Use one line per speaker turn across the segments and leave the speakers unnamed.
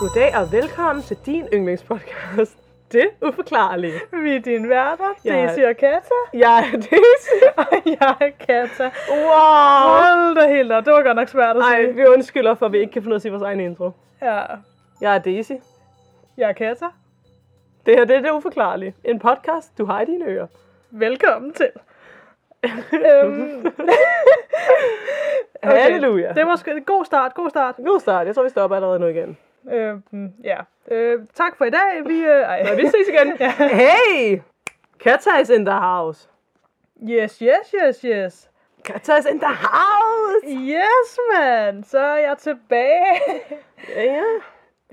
Goddag og velkommen til din yndlingspodcast. Det uforklarlige.
Vi er din værter,
Jeg-
Daisy og Kata.
Jeg er Daisy.
Og jeg er Kata.
Wow.
Hold da helt op, det var godt nok svært at
Ej,
sige.
vi undskylder for, at vi ikke kan finde ud af at sige vores egen intro.
Ja.
Jeg er Daisy.
Jeg er Kata.
Det her det er det uforklarlige. En podcast, du har i dine ører.
Velkommen til. øhm,
Okay. Halleluja.
Det var sgu en god start, god start.
God start. Jeg tror, vi stopper allerede nu igen.
Øhm, ja. Øh, tak for i dag. Vi, øh, ej.
Og vi ses igen.
Ja.
Hey! Kata is in the house.
Yes, yes, yes, yes.
Kata is in the house.
Yes, man. Så er jeg tilbage.
Ja, ja.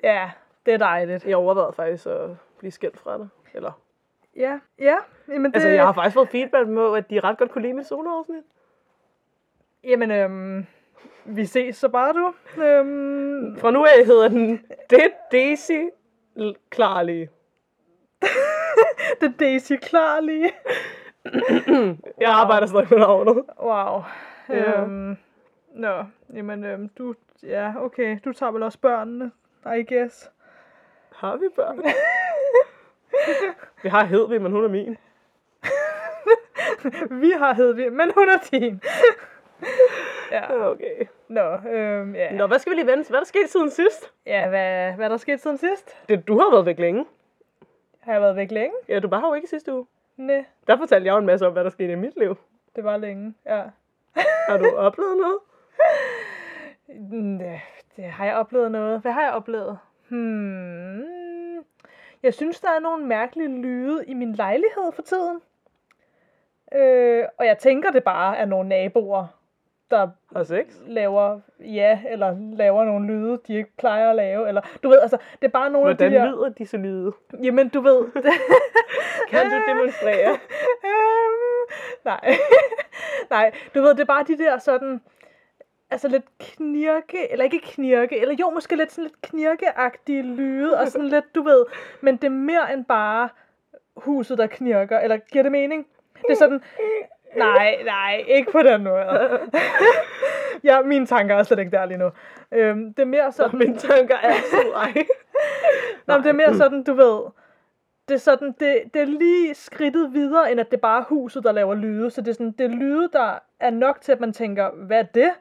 ja, det er dejligt.
Jeg overvejede faktisk at blive skældt fra dig. Eller,
Ja, ja. Jamen, det,
altså, jeg har faktisk fået feedback på, at de ret godt kunne lide mit soloafsnit.
Jamen, øhm, vi ses så bare, du. Øhm,
Fra nu af hedder den Det Daisy L- Klarlige.
det er Daisy klar lige.
Jeg arbejder stadig med navnet.
Wow.
Ja.
Ja. Øhm, nå, jamen, øhm, du, ja, okay, du tager vel også børnene, I guess.
Har vi børn? Vi har Hedvig, men hun er min.
vi har Hedvig, men hun er din. ja,
Okay.
nå, øhm, ja.
Nå, hvad skal vi lige vende? Hvad er der sket siden sidst?
Ja, hvad, hvad er der sket siden sidst?
Det, du har været væk længe.
Har jeg været væk længe?
Ja, du var her jo ikke i sidste uge.
Nej,
Der fortalte jeg jo en masse om, hvad der skete i mit liv.
det var længe, ja.
Har du oplevet noget?
Næh, Mm, Det har jeg oplevet noget. Hvad har jeg oplevet? Hmm. Jeg synes, der er nogle mærkelige lyde i min lejlighed for tiden. Øh, og jeg tænker, det bare er nogle naboer, der
Har sex?
laver ja, eller laver nogle lyde, de ikke plejer at lave. Eller, du ved, altså, det er bare nogle
Hvordan
af de der...
lyder de så lyde?
Jamen, du ved.
Kan du demonstrere?
Øhm, nej. nej, du ved, det er bare de der sådan, altså lidt knirke, eller ikke knirke, eller jo, måske lidt sådan lidt knirkeagtige lyde, og sådan lidt, du ved, men det er mere end bare huset, der knirker, eller giver det mening? Det er sådan, nej, nej, ikke på den måde. ja, mine tanker er slet ikke der lige nu. Øhm, det er mere sådan,
Mine tanker er så ej.
Nå, men det er
Mm.
mere sådan, du ved, det er sådan, det, det er lige skridtet videre, end at det bare er huset, der laver lyde. Så det er sådan, det er lyde, der er nok til, at man tænker, hvad er det?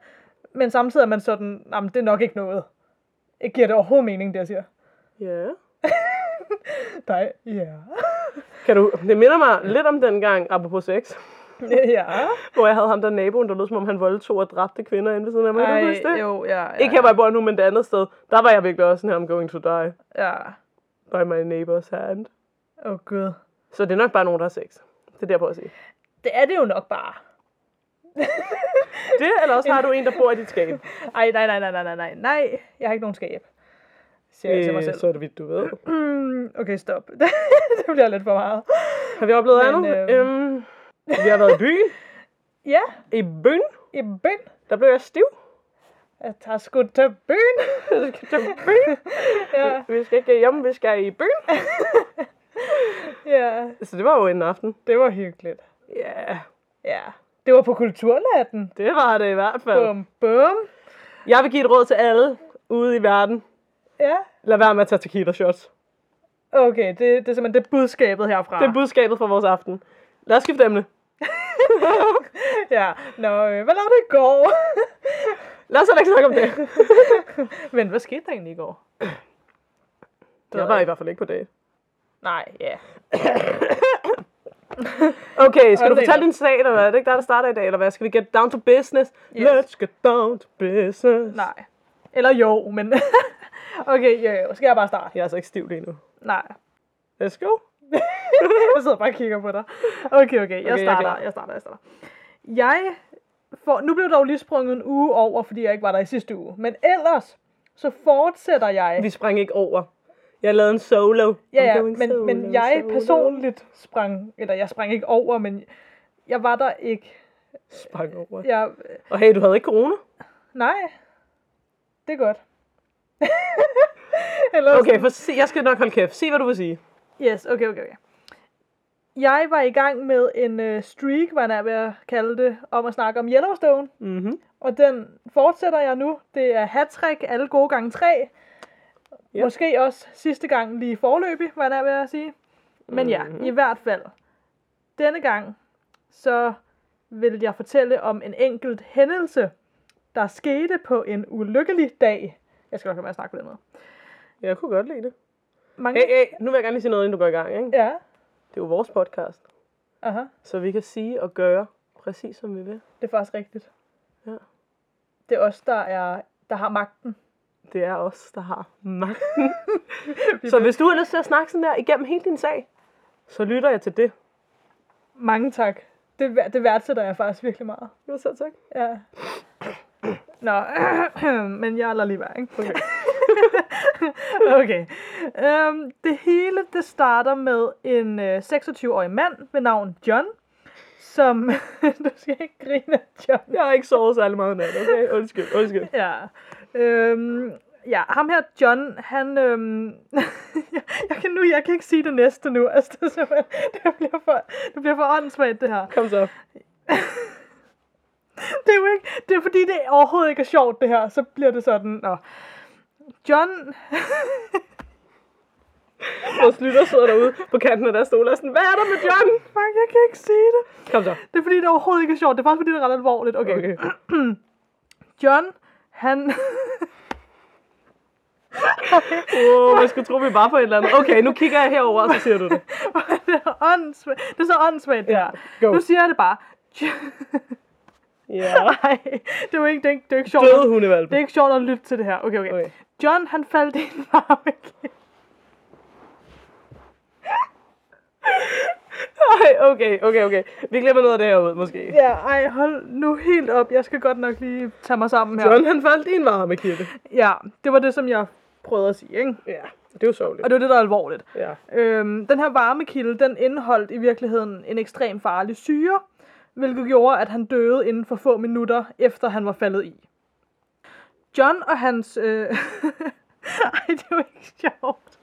Men samtidig er man sådan, jamen, det er nok ikke noget. Ikke giver det overhovedet mening, det jeg siger.
Ja.
Nej, ja.
Kan du, det minder mig lidt om dengang, apropos sex.
ja.
Hvor jeg havde ham der naboen, der lød som om han voldtog og dræbte kvinder inde ved siden af mig. Ej, kan du huske det? Jo,
jo, ja, ja.
Ikke her, hvor jeg bor nu, men det andet sted. Der var jeg virkelig også sådan her, I'm going to die
Ja.
by my neighbor's hand.
Åh, oh, gud.
Så det er nok bare nogen, der har sex. Det er der på at sige.
Det er det jo nok bare.
Det, eller også har du en, der bor i dit skab.
Ej, nej, nej, nej, nej, nej, nej, nej. Jeg har ikke nogen skab. Siger jeg til altså mig
Øh,
selv.
så er det vidt, du ved.
Mm, okay, stop. det bliver lidt for meget.
Har vi oplevet
Men,
andet?
øhm,
Øhm, vi har været i byen.
Ja,
I byen.
i byen.
Der blev jeg stiv.
Jeg tager sgu til byen.
Jeg skal til byen.
ja,
Vi skal ikke hjem, vi skal i byen.
ja.
Så det var jo en aften.
Det var hyggeligt.
Ja, yeah,
Ja. Det var på kulturnatten.
det var det i hvert fald.
Bum, bum.
Jeg vil give et råd til alle ude i verden.
Ja.
Lad være med at tage tequila shots.
Okay, det, det er simpelthen det budskabet herfra.
Det er budskabet fra vores aften. Lad os skifte emne.
ja. Nå, øh, hvad lavede du i går?
Lad os heller ikke snakke om det.
Men hvad skete der egentlig i går? ved
Jeg
jeg
var i
ikke.
hvert fald ikke på date.
Nej, ja.
Okay, skal
Og
du
det
fortælle
er-
din sag, eller hvad? Er det ikke der, der starter i dag, eller hvad? Skal vi get down to business?
Yes.
Let's get down to business.
Nej. Eller jo, men... okay, jo, jo. Skal jeg bare starte?
Jeg er altså ikke stiv lige nu.
Nej.
Let's go.
jeg sidder bare og kigger på dig. Okay, okay, jeg
Okay, jeg er
starter,
klar.
jeg, starter, jeg starter. Jeg får, nu blev der jo lige sprunget en uge over, fordi jeg ikke var der i sidste uge. Men ellers, så fortsætter jeg.
Vi sprang ikke over. Jeg lavede en solo.
ja,
I'm
ja,
going
men,
solo,
men jeg
solo.
personligt sprang, eller jeg sprang ikke over, men jeg var der ikke.
Sprang over.
Jeg,
Og hey, du havde ikke corona?
nej, det er godt. Eller
Okay, for se, jeg skal nok holde kæft. Se, hvad du vil sige.
Yes, okay, okay, okay. Jeg var i gang med en øh, streak, var jeg nær ved at kalde det, om at snakke om Yellowstone.
Mhm.
Og den fortsætter jeg nu. Det er hattrick alle gode gange tre. Ja.
Ja.
Måske også sidste gang lige forløbig, var jeg nær ved at sige. Men ja,
Mhm.
i hvert fald. Denne gang, så vil jeg fortælle om en enkelt hændelse, der skete på en ulykkelig dag. Jeg skal nok lade være med at snakke på den måde.
Jeg kunne godt lide det.
Mange...
Hey, hey, nu vil jeg gerne lige sige noget, inden du går i gang. Ikke?
Ja,
Det er jo vores podcast,
aha.
så vi kan sige og gøre præcis, som vi vil.
Det er faktisk rigtigt.
Ja.
Det er os, der, er, der har magten.
Det er os, der har magten. så hvis du har lyst til at snakke sådan der igennem hele din sag, så lytter jeg til det.
Mange tak. Det, vær- det værdsætter jeg faktisk virkelig meget.
Jo, selv tak.
Ja. Nå, men jeg lader lige være, ikke?
Okay.
Okay. Øhm, det hele, det starter med en øh, 26-årig mand ved navn John, som... du skal ikke grine af John.
Jeg har ikke sovet særlig meget nat, okay? Undskyld, undskyld.
Ja. Øhm, ja, ham her, John, han... Øhm, jeg, jeg, kan nu, jeg kan ikke sige det næste nu. Altså, det, er simpelthen- det, bliver, for, det bliver for åndssvagt, det her.
Kom så.
det er jo ikke, det er fordi, det overhovedet ikke er sjovt, det her. Så bliver det sådan, nå. John,
Vores lytter sidder derude på kanten af deres stol og er sådan, hvad er der med John?
fuck, jeg kan ikke sige det.
Kom så.
Det er fordi, det overhovedet ikke er sjovt. Det er faktisk fordi, det er ret alvorligt. Okay. okay.
Okay.
John, han...
Åh, oh, jeg skulle tro, vi var på et eller andet. Okay, nu kigger jeg herover, og så siger du det.
det, er åndssvagt. det er så åndssvagt, det her.
go.
Nu siger jeg det bare. John-
Ja.
Nej, det er jo ikke, det er ikke, det er ikke sjovt.
Døde hundevalp.
Det er ikke sjovt at lytte til det her. Okay, okay. okay.
Okay.
John, han faldt i en varmekiste.
Ej, okay, okay, okay. Vi glemmer noget af det her ud, måske.
Ja, ej, hold nu helt op. Jeg skal godt nok lige tage mig sammen her.
John, han faldt i en varmekirte.
Ja, det var det, som jeg prøvede at sige, ikke?
Ja, det er jo sørgeligt.
Og det var det, der er alvorligt.
Ja.
Øhm, den her varmekilde, den indeholdt i virkeligheden en ekstrem farlig syre, hvilket gjorde, at han døde inden for få minutter, efter han var faldet i. John og hans... Øh... Ej, det var ikke sjovt.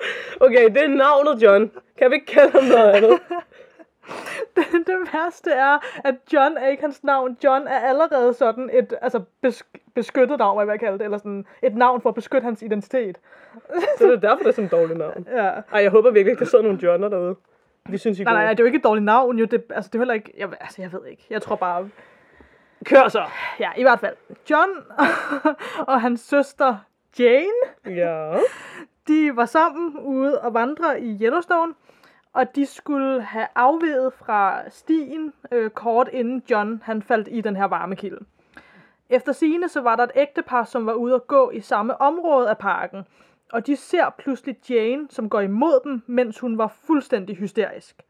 Okay, det er navnet John. Kan vi ikke kalde ham noget andet?
Det, det værste er, at John er ikke hans navn. John er allerede sådan et altså besk- beskyttet navn, hvad jeg vil kalde det, eller sådan et navn for at beskytte hans identitet.
Så det er derfor, det er sådan et dårligt navn.
Ja.
Ej, jeg håber virkelig ikke, der sidder nogle Johner derude. Vi synes, I er
Nej,
gode.
nej, nej, det er jo ikke et dårligt navn, jo. Det, altså, det er heller ikke... Jeg, altså, jeg ved ikke. Jeg tror bare...
Kør så!
Ja, i hvert fald. John og hans søster Jane,
Ja.
de var sammen ude og vandre i Yellowstone, og de skulle have afveget fra stien øh, kort inden John han faldt i den her varmekilde. Efter sigende så var der et ægtepar, som var ude at gå i samme område af parken, og de ser pludselig Jane, som går imod dem, mens hun var fuldstændig hysterisk.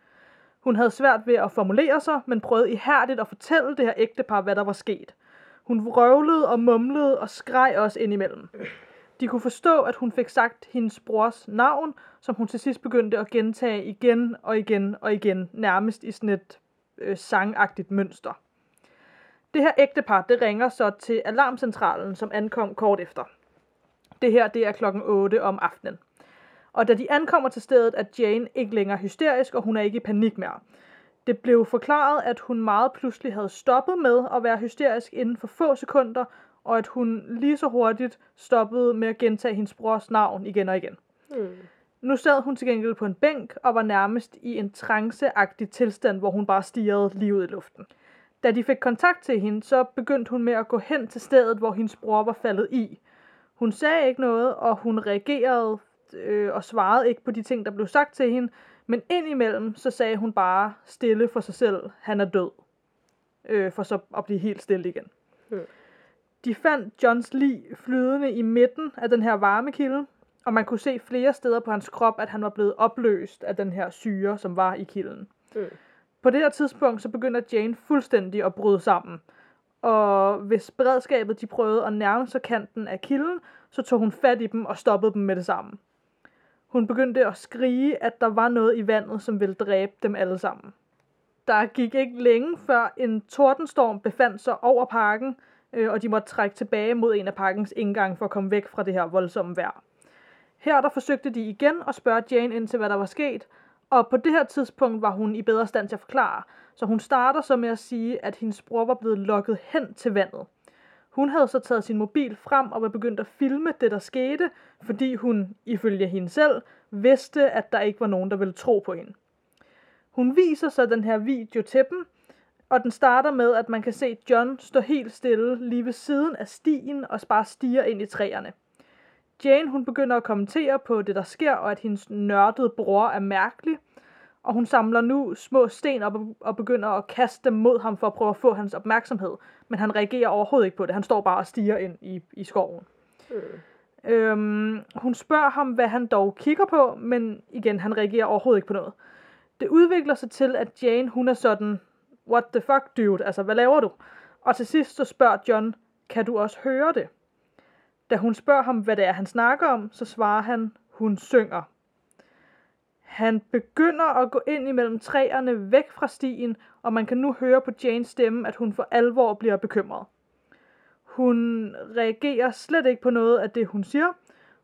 Hun havde svært ved at formulere sig, men prøvede ihærdigt at fortælle det her ægtepar, hvad der var sket. Hun vrøvlede og mumlede og skreg også indimellem. De kunne forstå, at hun fik sagt hendes brors navn, som hun til sidst begyndte at gentage igen og igen og igen, nærmest i sådan et øh, sangagtigt mønster. Det her ægtepar, det ringer så til alarmcentralen, som ankom kort efter. Det her, det er klokken 8 om aftenen. Og da de ankommer til stedet, er Jane ikke længere hysterisk, og hun er ikke i panik mere. Det blev forklaret, at hun meget pludselig havde stoppet med at være hysterisk inden for få sekunder, og at hun lige så hurtigt stoppede med at gentage hendes brors navn igen og igen.
Hmm.
Nu sad hun til gengæld på en bænk og var nærmest i en tranceagtig tilstand, hvor hun bare stirrede lige ud i luften. Da de fik kontakt til hende, så begyndte hun med at gå hen til stedet, hvor hendes bror var faldet i. Hun sagde ikke noget, og hun reagerede øh, og svarede ikke på de ting, der blev sagt til hende, men indimellem så sagde hun bare stille for sig selv, han er død, øh, for så at blive helt stille igen.
Hmm.
De fandt Johns lig flydende i midten af den her varmekilde, og man kunne se flere steder på hans krop, at han var blevet opløst af den her syre, som var i kilden.
Mm.
På det her tidspunkt, så begynder Jane fuldstændig at bryde sammen. Og hvis beredskabet de prøvede at nærme sig kanten af kilden, så tog hun fat i dem og stoppede dem med det samme. Hun begyndte at skrige, at der var noget i vandet, som ville dræbe dem alle sammen. Der gik ikke længe før en tordenstorm befandt sig over parken, øh, og de måtte trække tilbage mod en af parkens indgang for at komme væk fra det her voldsomme vejr. Her der forsøgte de igen at spørge Jane ind til, hvad der var sket, og på det her tidspunkt var hun i bedre stand til at forklare, så hun starter så med at sige, at hendes bror var blevet lokket hen til vandet. Hun havde så taget sin mobil frem og var begyndt at filme det, der skete, fordi hun, ifølge hende selv, vidste, at der ikke var nogen, der ville tro på hende. Hun viser så den her video til dem, og den starter med, at man kan se John stå helt stille lige ved siden af stien og bare stiger ind i træerne. Jane hun begynder at kommentere på det, der sker, og at hendes nørdede bror er mærkelig, og hun samler nu små sten op og begynder at kaste dem mod ham for at prøve at få hans opmærksomhed, men han reagerer overhovedet ikke på det. Han står bare og stiger ind i, i skoven.
Øh.
Øhm, hun spørger ham, hvad han dog kigger på, men igen, han reagerer overhovedet ikke på noget. Det udvikler sig til, at Jane, hun er sådan, what the fuck, dude, altså, hvad laver du? Og til sidst så spørger John, kan du også høre det? Da hun spørger ham, hvad det er, han snakker om, så svarer han, hun synger. Han begynder at gå ind imellem træerne væk fra stien, og man kan nu høre på Janes stemme, at hun for alvor bliver bekymret. Hun reagerer slet ikke på noget af det, hun siger,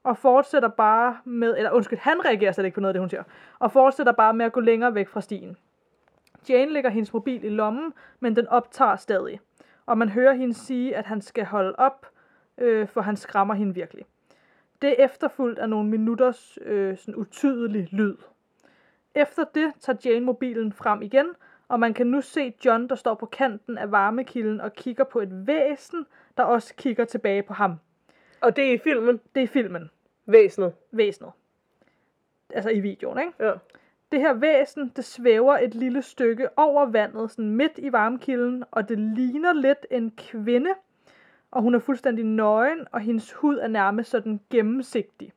og fortsætter bare med, eller undskyld, han reagerer slet ikke på noget af det, hun siger, og fortsætter bare med at gå længere væk fra stien. Jane lægger hendes mobil i lommen, men den optager stadig, og man hører hende sige, at han skal holde op, øh, for han skræmmer hende virkelig. Det er efterfulgt af nogle minutters øh, sådan utydelig lyd. Efter det tager Jane mobilen frem igen, og man kan nu se John, der står på kanten af varmekilden og kigger på et væsen, der også kigger tilbage på ham.
Og det er i filmen.
Det er filmen,
Væsenet.
væsenet. Altså i videoen, ikke?
Ja.
Det her væsen, det svæver et lille stykke over vandet, sådan midt i varmekilden, og det ligner lidt en kvinde, og hun er fuldstændig nøgen, og hendes hud er nærmest sådan gennemsigtig.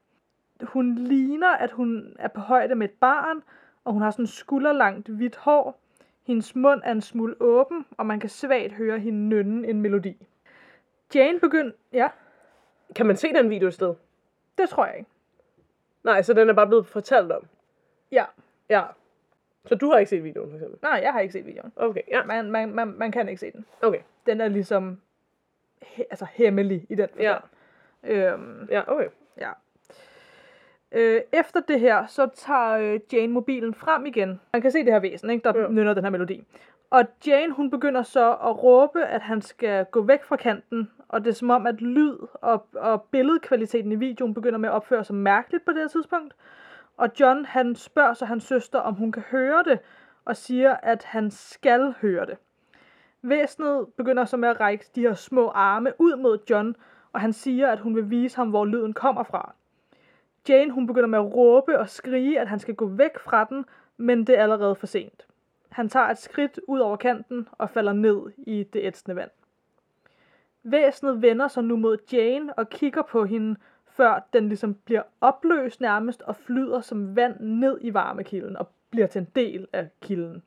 Hun ligner, at hun er på højde med et barn, og hun har sådan skulderlangt hvidt hår. Hendes mund er en smule åben, og man kan svagt høre hende nynne en melodi. Jane begyndte... Ja,
Kan man se den video et sted?
det tror jeg ikke.
Nej, så den er bare blevet fortalt om.
Ja.
Ja. Så du har ikke set videoen, for eksempel?
Nej, jeg har ikke set videoen.
Okay, ja.
Man, man, man, man kan ikke se den.
Okay,
den er ligesom he, altså hemmelig i den
ja.
forstand. Ja. Øhm,
Ja, okay.
ja. Øh, efter det her, så tager øh, Jane mobilen frem igen. Man kan se det her væsen, ikke, der
Ja.
ja. nynner den her melodi. Og Jane, hun begynder så at råbe, at han skal gå væk fra kanten. Og det er som om, at lyd og, og billedkvaliteten i videoen begynder med at opføre sig mærkeligt på det her tidspunkt. Og John, han spørger så hans søster, om hun kan høre det, og siger, at han skal høre det. Væsenet begynder så med at række de her små arme ud mod John, og han siger, at hun vil vise ham, hvor lyden kommer fra. Jane hun begynder med at råbe og skrige, at han skal gå væk fra den, men det er allerede for sent. Han tager et skridt ud over kanten og falder ned i det ætsende vand. Væsenet vender sig nu mod Jane og kigger på hende, før den ligesom bliver opløst nærmest og flyder som vand ned i varmekilden og bliver til en del af kilden.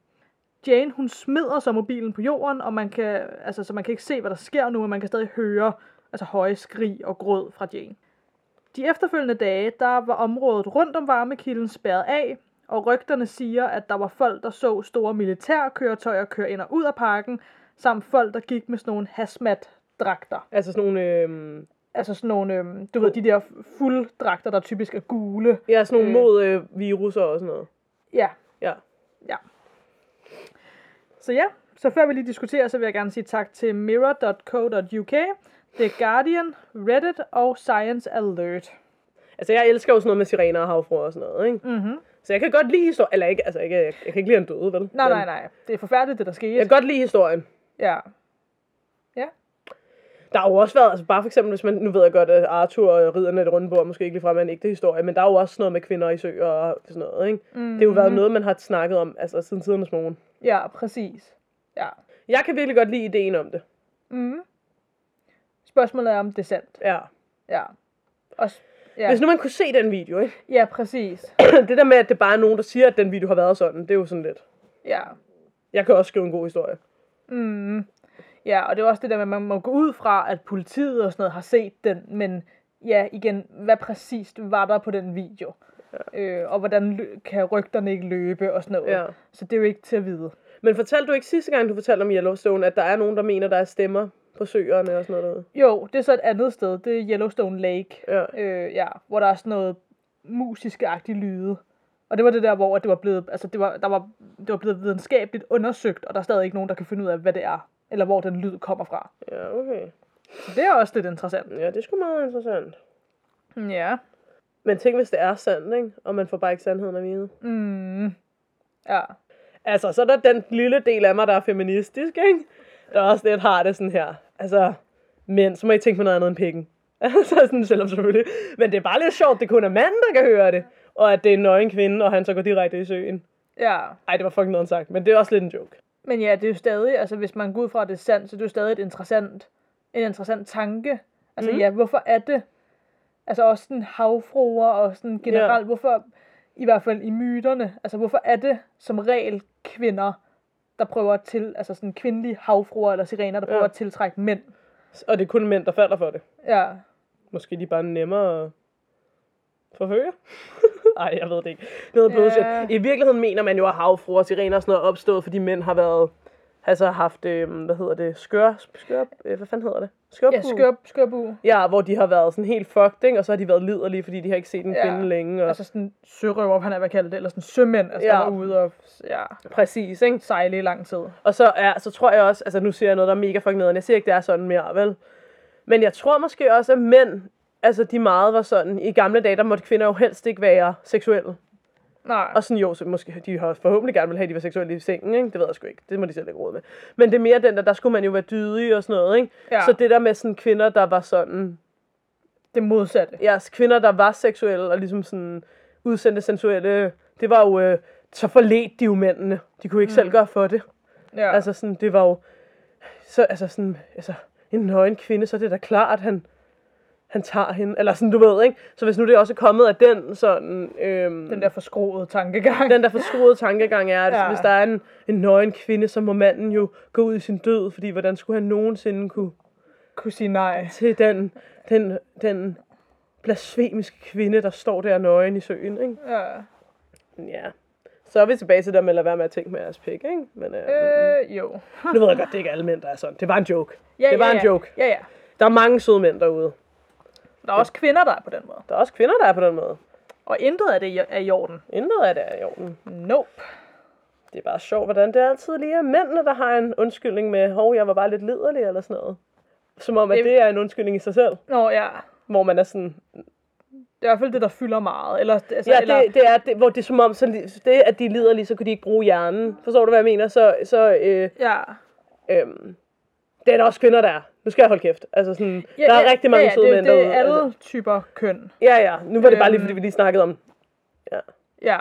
Jane, hun smider så mobilen på jorden, og man kan, altså, så man kan ikke se, hvad der sker nu, men man kan stadig høre altså, høje skrig og gråd fra Jane. De efterfølgende dage, der var området rundt om varmekilden spærret af, og rygterne siger, at der var folk, der så store militærkøretøjer køre ind og ud af parken, samt folk, der gik med sådan nogle hazmat-dragter.
Altså sådan nogle, øhm,
Altså sådan nogle, øhm, du ved, de der fulddragter, der typisk er gule.
ja, sådan nogle
Øh.
mod øh, viruser og sådan noget.
Ja,
Ja.
Så ja, så før vi lige diskuterer, så vil jeg gerne sige tak til mirror.co.uk, The Guardian, Reddit og Science Alert.
Altså, jeg elsker jo sådan noget med sirener og havfruer og sådan noget, ikke?
Mm-hmm.
Så jeg kan godt lide historien. Eller ikke, altså, ikke, jeg, jeg kan ikke lide, at han døde, vel?
Nej,
Men
nej, nej. Det er forfærdeligt, det der skete.
Jeg kan godt lide historien.
Ja.
Der har jo også været, altså bare for eksempel, hvis man, nu ved jeg godt, at Arthur og ridderne af det runde bord måske ikke ligefrem er en ægte historie, men der er jo også sådan noget med kvinder i søer og sådan noget, ikke? Mm. Det har jo været noget, man har snakket om, altså siden tidernes morgen.
Ja, præcis. Ja.
Jeg kan virkelig godt lide ideen om det.
Mm. Spørgsmålet er, om det er sandt.
Ja.
Ja. Og, s-
ja.
ja.
Hvis nu man kunne se den video, ikke?
ja, præcis.
det der med, at det bare er nogen, der siger, at den video har været sådan, det er jo sådan lidt.
Ja.
Jeg kan også skrive en god historie.
Mm. Ja, og det er også det der med, at man må gå ud fra, at politiet og sådan noget har set den, men ja, igen, hvad præcist var der på den video? Ja. Øh, og hvordan lø- kan rygterne ikke løbe og sådan noget?
Ja.
Så det er jo ikke til at vide.
Men fortalte du ikke sidste gang, du fortalte om Yellowstone, at der er nogen, der mener, der er stemmer på søerne og sådan noget derude?
Jo, det er så et andet sted. Det er Yellowstone Lake,
Ja.
øh, ja, hvor der er sådan noget musiske-agtige lyde. Og det var det der, hvor at det var blevet, altså det var, der var, det var blevet videnskabeligt undersøgt, og der er stadig ikke nogen, der kan finde ud af, hvad det er, eller hvor den lyd kommer fra.
Ja, okay.
Så det er også lidt interessant.
Ja, det er sgu meget interessant.
Ja.
Men tænk, hvis det er sandt, ikke? Og man får bare ikke sandheden at vide.
Mm. Ja.
Altså, så er der den lille del af mig, der er feministisk, ikke? Der også lidt har det sådan her. Altså, men så må I tænke på noget andet end pikken. Altså, sådan selvom selvfølgelig. Men det er bare lidt sjovt, det kun er manden, der kan høre det. Og at det er en nøgen kvinde, og han så går direkte i søen.
Ja.
Ej, det var fucking noget sagt, men det er også lidt en joke.
Men ja, det er jo stadig, altså hvis man går ud fra, at det er sandt, så er det jo stadig et interessant, en interessant tanke. Altså
Mhm.
mm. ja, hvorfor er det? Altså også sådan havfruer og sådan generelt, ja. hvorfor, i hvert fald i myterne, altså hvorfor er det som regel kvinder, der prøver til, altså sådan kvindelige havfruer eller sirener, der
Ja.
prøver at tiltrække mænd.
Og det er kun mænd, der falder for det.
Ja.
Måske de bare er nemmere at forføre? Ej, jeg ved det ikke. Noget yeah.
Ja.
bullshit. I virkeligheden mener man jo, at havfruer og sirener og sådan noget er opstået, fordi mænd har været altså haft, øh, hvad hedder det, skør, skør, øh, hvad fanden hedder det? Skør,
Ja, skør, skørbu.
ja, hvor de har været sådan helt fucked, ikke? og så har de været liderlige, fordi de har ikke set en
Ja.
kvinde længe. Og...
Altså sådan sørøver, han er hvad kalder det, eller sådan sømænd, altså ja.
Ja.
der var ude og ja,
præcis, ikke?
sejle i lang tid.
Og så, er, så tror jeg også, altså nu siger jeg noget, der er mega fucking nederen. Jeg siger ikke, det er sådan mere, vel? Men jeg tror måske også, at mænd, altså de meget var sådan, i gamle dage, der måtte kvinder jo helst ikke være seksuelle.
Nej.
Og sådan jo, så måske, de har forhåbentlig gerne vil have, at de var seksuelle i sengen, ikke? Det ved jeg sgu ikke. Det må de selv ikke råd med. Men det er mere den der, der skulle man jo være dydig og sådan noget, ikke?
Ja.
Så det der med sådan kvinder, der var sådan,
det modsatte.
ja, kvinder, der var seksuelle og ligesom sådan udsendte sensuelle, det var jo, øh, så forledte de jo mændene. De kunne ikke mm. selv gøre for det.
Ja.
Altså sådan, det var jo, så, altså sådan, altså, en nøgen kvinde, så er det da klart, han, han tager hende, eller sådan, du ved, ikke? Så hvis nu det også er kommet af den sådan, øhm,
den der forskroede tankegang.
den der forskruede tankegang er, at ja.
Ja.
hvis der er en, en nøgen kvinde, så må manden jo gå ud i sin død, fordi hvordan skulle han nogensinde kunne
kunne sige nej.
til den, den, den blasfemiske kvinde, der står der nøgen i søen, ikke?
Ja.
Ja. Så er vi tilbage til det med at lade være med at tænke med jeres pik, ikke? Men øh,
Øh, jo.
nu ved jeg godt, det er ikke alle mænd, der er sådan. Det var en joke.
Ja,
det var
ja,
en
ja.
joke.
Ja, ja.
Der er mange søde mænd derude.
Der er også kvinder, der er på den måde.
Der er også kvinder, der er på den måde.
Og intet af det er i orden.
Intet af det er i orden.
Nope.
Det er bare sjovt, hvordan det altid lige er mændene, der har en undskyldning med, hov, jeg var bare lidt liderlig eller sådan noget. Som om, at
Det-
det er en undskyldning i sig selv.
Nå ja.
Hvor man er sådan,
Det er i hvert fald det, der fylder meget. Eller, altså,
ja,
eller,
det, det er, det, hvor det er som om, så, li- det at de lider lige, så kunne de ikke bruge hjernen. Forstår du, hvad jeg mener? Så, så øh,
ja.
øh, det er der også kvinder, der er. Nu skal jeg holde kæft. Altså sådan,
ja.
der er
ja,
rigtig mange
ja,
søde
det,
mænd
det,
derude.
er alle
Altså,
typer køn.
ja, ja. Nu var det bare lige,
Øhm.
fordi vi lige snakkede om.
Ja.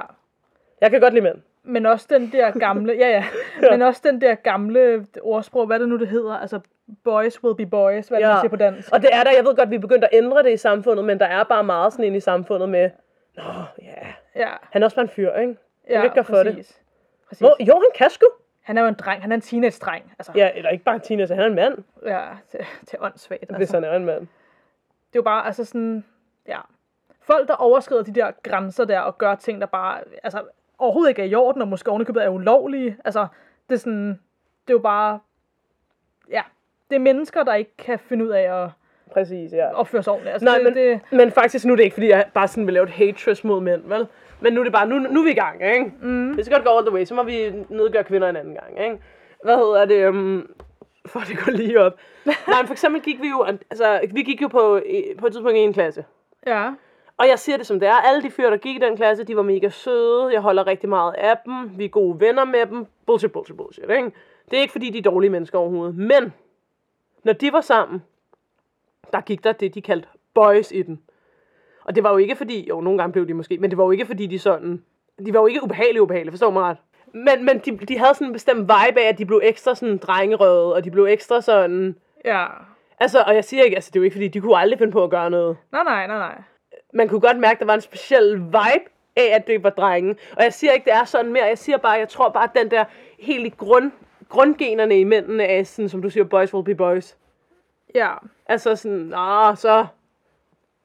Jeg kan godt lide mænd.
Men også den der gamle, ja ja, men også den der gamle ordsprog, hvad er det nu det hedder, altså boys will be boys, hvad
Ja.
ja. det man siger på dansk.
Og det er der, jeg ved godt, vi er begyndt at ændre det i samfundet, men der er bare meget sådan ind i samfundet med, Nå, ja,
Ja,
han er også bare en fyr, ikke?
ja,
ikke gøre for det.
præcis. præcis.
Nå, jo, han kan sgu.
Han er jo en dreng, han er en teenage-dreng. Altså,
Ja, eller ikke bare en teenager, han er en mand,
ja til, til åndssvagt. Altså.
hvis han er en mand.
Det er jo bare, altså sådan, ja. Folk, der overskrider de der grænser der, og gør ting, der bare, altså, overhovedet ikke er i orden, og måske ovenikøbet er ulovlige. Altså, det er sådan, det er jo bare, ja. Det er mennesker, der ikke kan finde ud af at
Præcis, ja.
opføre sig ordentligt. Altså,
Nej,
det,
men,
det,
men faktisk nu er det ikke, fordi jeg bare sådan vil lave et haters mod mænd, vel? Men nu er det bare, nu, nu er vi i gang, ikke? Mm. Det skal godt gå all the way, så må vi nedgøre kvinder en anden gang, ikke? Hvad hedder det? Um, for det går lige op. Nej, men for eksempel gik vi jo, altså, vi gik jo på, på et tidspunkt i en klasse.
ja.
Og jeg siger det som det er. Alle de fyre, der gik i den klasse, de var mega søde. Jeg holder rigtig meget af dem. Vi er gode venner med dem. Bullshit, bullshit, bullshit. Ikke? Det er ikke, fordi de er dårlige mennesker overhovedet. Men, når de var sammen, der gik der det, de kaldte boys i den. Og det var jo ikke fordi, jo, nogle gange blev de måske, men det var jo ikke fordi, de sådan, de var jo ikke ubehagelige, ubehagelige, forstår mig ret. Men, men de, de havde sådan en bestemt vibe af, at de blev ekstra sådan drengerøde, og de blev ekstra sådan,
Ja.
altså, og jeg siger ikke, altså, det er jo ikke fordi, de kunne aldrig finde på at gøre noget
Nej, nej, nej, nej.
man kunne godt mærke, at der var en speciel vibe af, at det var drenge. Og jeg siger ikke, det er sådan mere. Jeg siger bare, jeg tror bare, at den der helt i grund, grundgenerne i mændene er sådan, som du siger, boys will be boys.
Ja.
Altså sådan, nå, så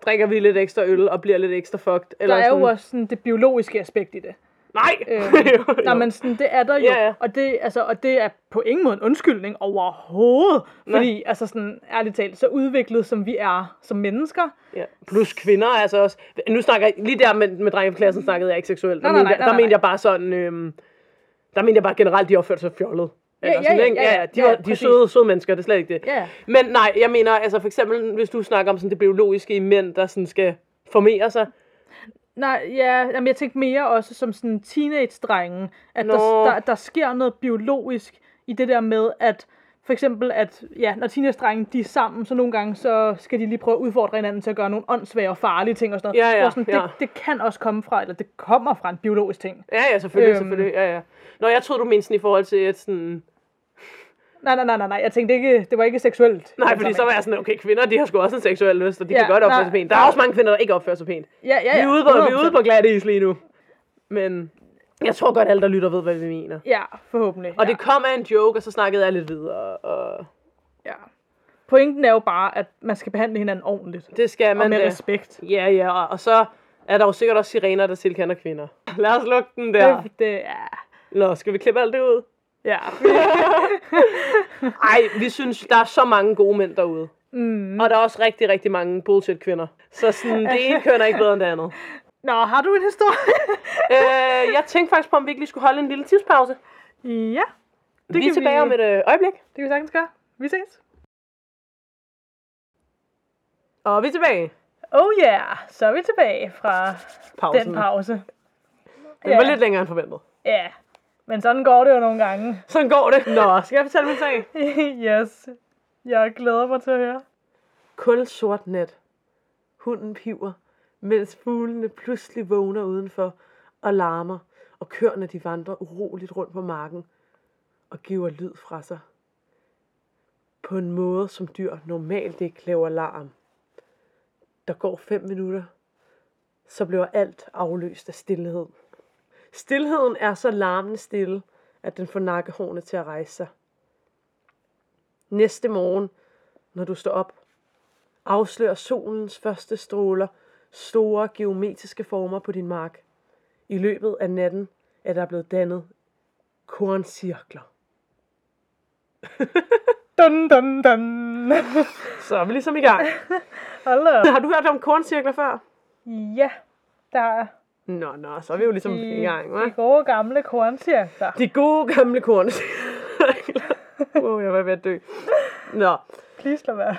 drikker vi lidt ekstra øl og bliver lidt ekstra fucked.
Der
Eller
er
sådan,
jo også sådan det biologiske aspekt i det.
Nej!
Øhm,
Jo, jo.
Nej, men sådan, det er der jo.
Ja, ja.
Og, det, altså, og det er på ingen måde en undskyldning overhovedet. Fordi, altså sådan, ærligt talt, så udviklet som vi er som mennesker.
Ja. Plus kvinder er altså også... Nu snakker jeg... Lige der med, med drenge på klassen snakkede jeg ikke seksuelt. Der,
Nej, nej,
mente jeg-
nej,
der
nej,
mente
nej.
jeg bare sådan... Øhm, der mente jeg bare generelt, de opførte sig fjollet. Eller
ja,
sådan,
ja,
ikke?
ja, ja,
de,
ja,
var, de er
præcis.
søde, søde mennesker, det er slet ikke det.
Ja.
Men nej, jeg mener, altså for eksempel, hvis du snakker om sådan det biologiske i mænd, der sådan skal formere sig.
Nej, ja, jamen jeg tænkte mere også som sådan teenage-drenge, at der,
Nå.
der, der sker noget biologisk i det der med, at for eksempel, at ja, når teenage-drenge de er sammen, så nogle gange, så skal de lige prøve at udfordre hinanden til at gøre nogle åndsvære og farlige ting og sådan noget.
Ja, ja,
Hvor sådan,
ja.
Det, det kan også komme fra, eller det kommer fra en biologisk ting.
Ja, ja, selvfølgelig,
Øhm.
selvfølgelig. Ja, ja. Nå, jeg troede, du mente sådan i forhold til, at sådan...
Nej, nej, nej, nej, nej, jeg tænkte ikke, det var ikke seksuelt. altså,
Nej, fordi så var jeg sådan, okay, kvinder, de har sgu også en seksuel lyst, og de
Ja,
kan godt opføre
nej.
sig pænt. Der er også mange kvinder, der ikke opfører sig pænt.
Ja, ja, ja.
Vi er ude på, vi er
100%.
ude på glat is lige nu. Men jeg tror godt, alle, der lytter, ved, hvad vi mener.
Ja, forhåbentlig.
Og
ja.
det kom af en joke, og så snakkede jeg lidt videre, og
Ja. Pointen er jo bare, at man skal behandle hinanden ordentligt.
det skal
og
man
med
da.
respekt.
Ja, ja, og, og så er der jo sikkert også sirener, der tilkender kvinder. Lad os lukke den der.
Det, det er...
Nå, skal vi klippe alt det ud?
Ja.
Ej, vi synes, der er så mange gode mænd derude.
Mm.
Og der er også rigtig, rigtig mange bullshit kvinder. Så sådan, det ene køn er ikke bedre end det andet.
Nå, har du en historie?
Øh, jeg tænkte faktisk på, om vi ikke lige skulle holde en lille tidspause.
ja,
Det vi er
kan
tilbage
vi-
om et øh, øjeblik.
det kan vi sagtens gøre. Vi ses.
Og vi er tilbage.
Oh yeah, så er vi tilbage fra
Pausen.
den pause.
Den var
Ja.
lidt længere end forventet.
Ja, men sådan går det jo nogle gange.
Sådan går det. Nå, skal jeg fortælle min sag?
yes, jeg glæder mig til at høre.
Kul sort nat. Hunden piver, mens fuglene pludselig vågner udenfor og larmer, og køerne de vandrer uroligt rundt på marken og giver lyd fra sig. På en måde, som dyr normalt ikke laver larm. Der går fem minutter, så bliver alt afløst af stillhed. Stilheden er så larmende stille, at den får nakkehårene til at rejse sig. Næste morgen, når du står op, afslører solens første stråler store geometriske former på din mark. I løbet af natten er der blevet dannet korncirkler.
Dun, dun, dun.
Så er vi ligesom i gang.
Hold da op.
Har du hørt om korncirkler før?
Ja, der er
Nå, nå, så er vi jo ligesom i gang,
de, de
hva'?
gode gamle korncirkler.
De gode gamle korncirkler. wow, jeg var ved at dø. Nå.
Please lad være.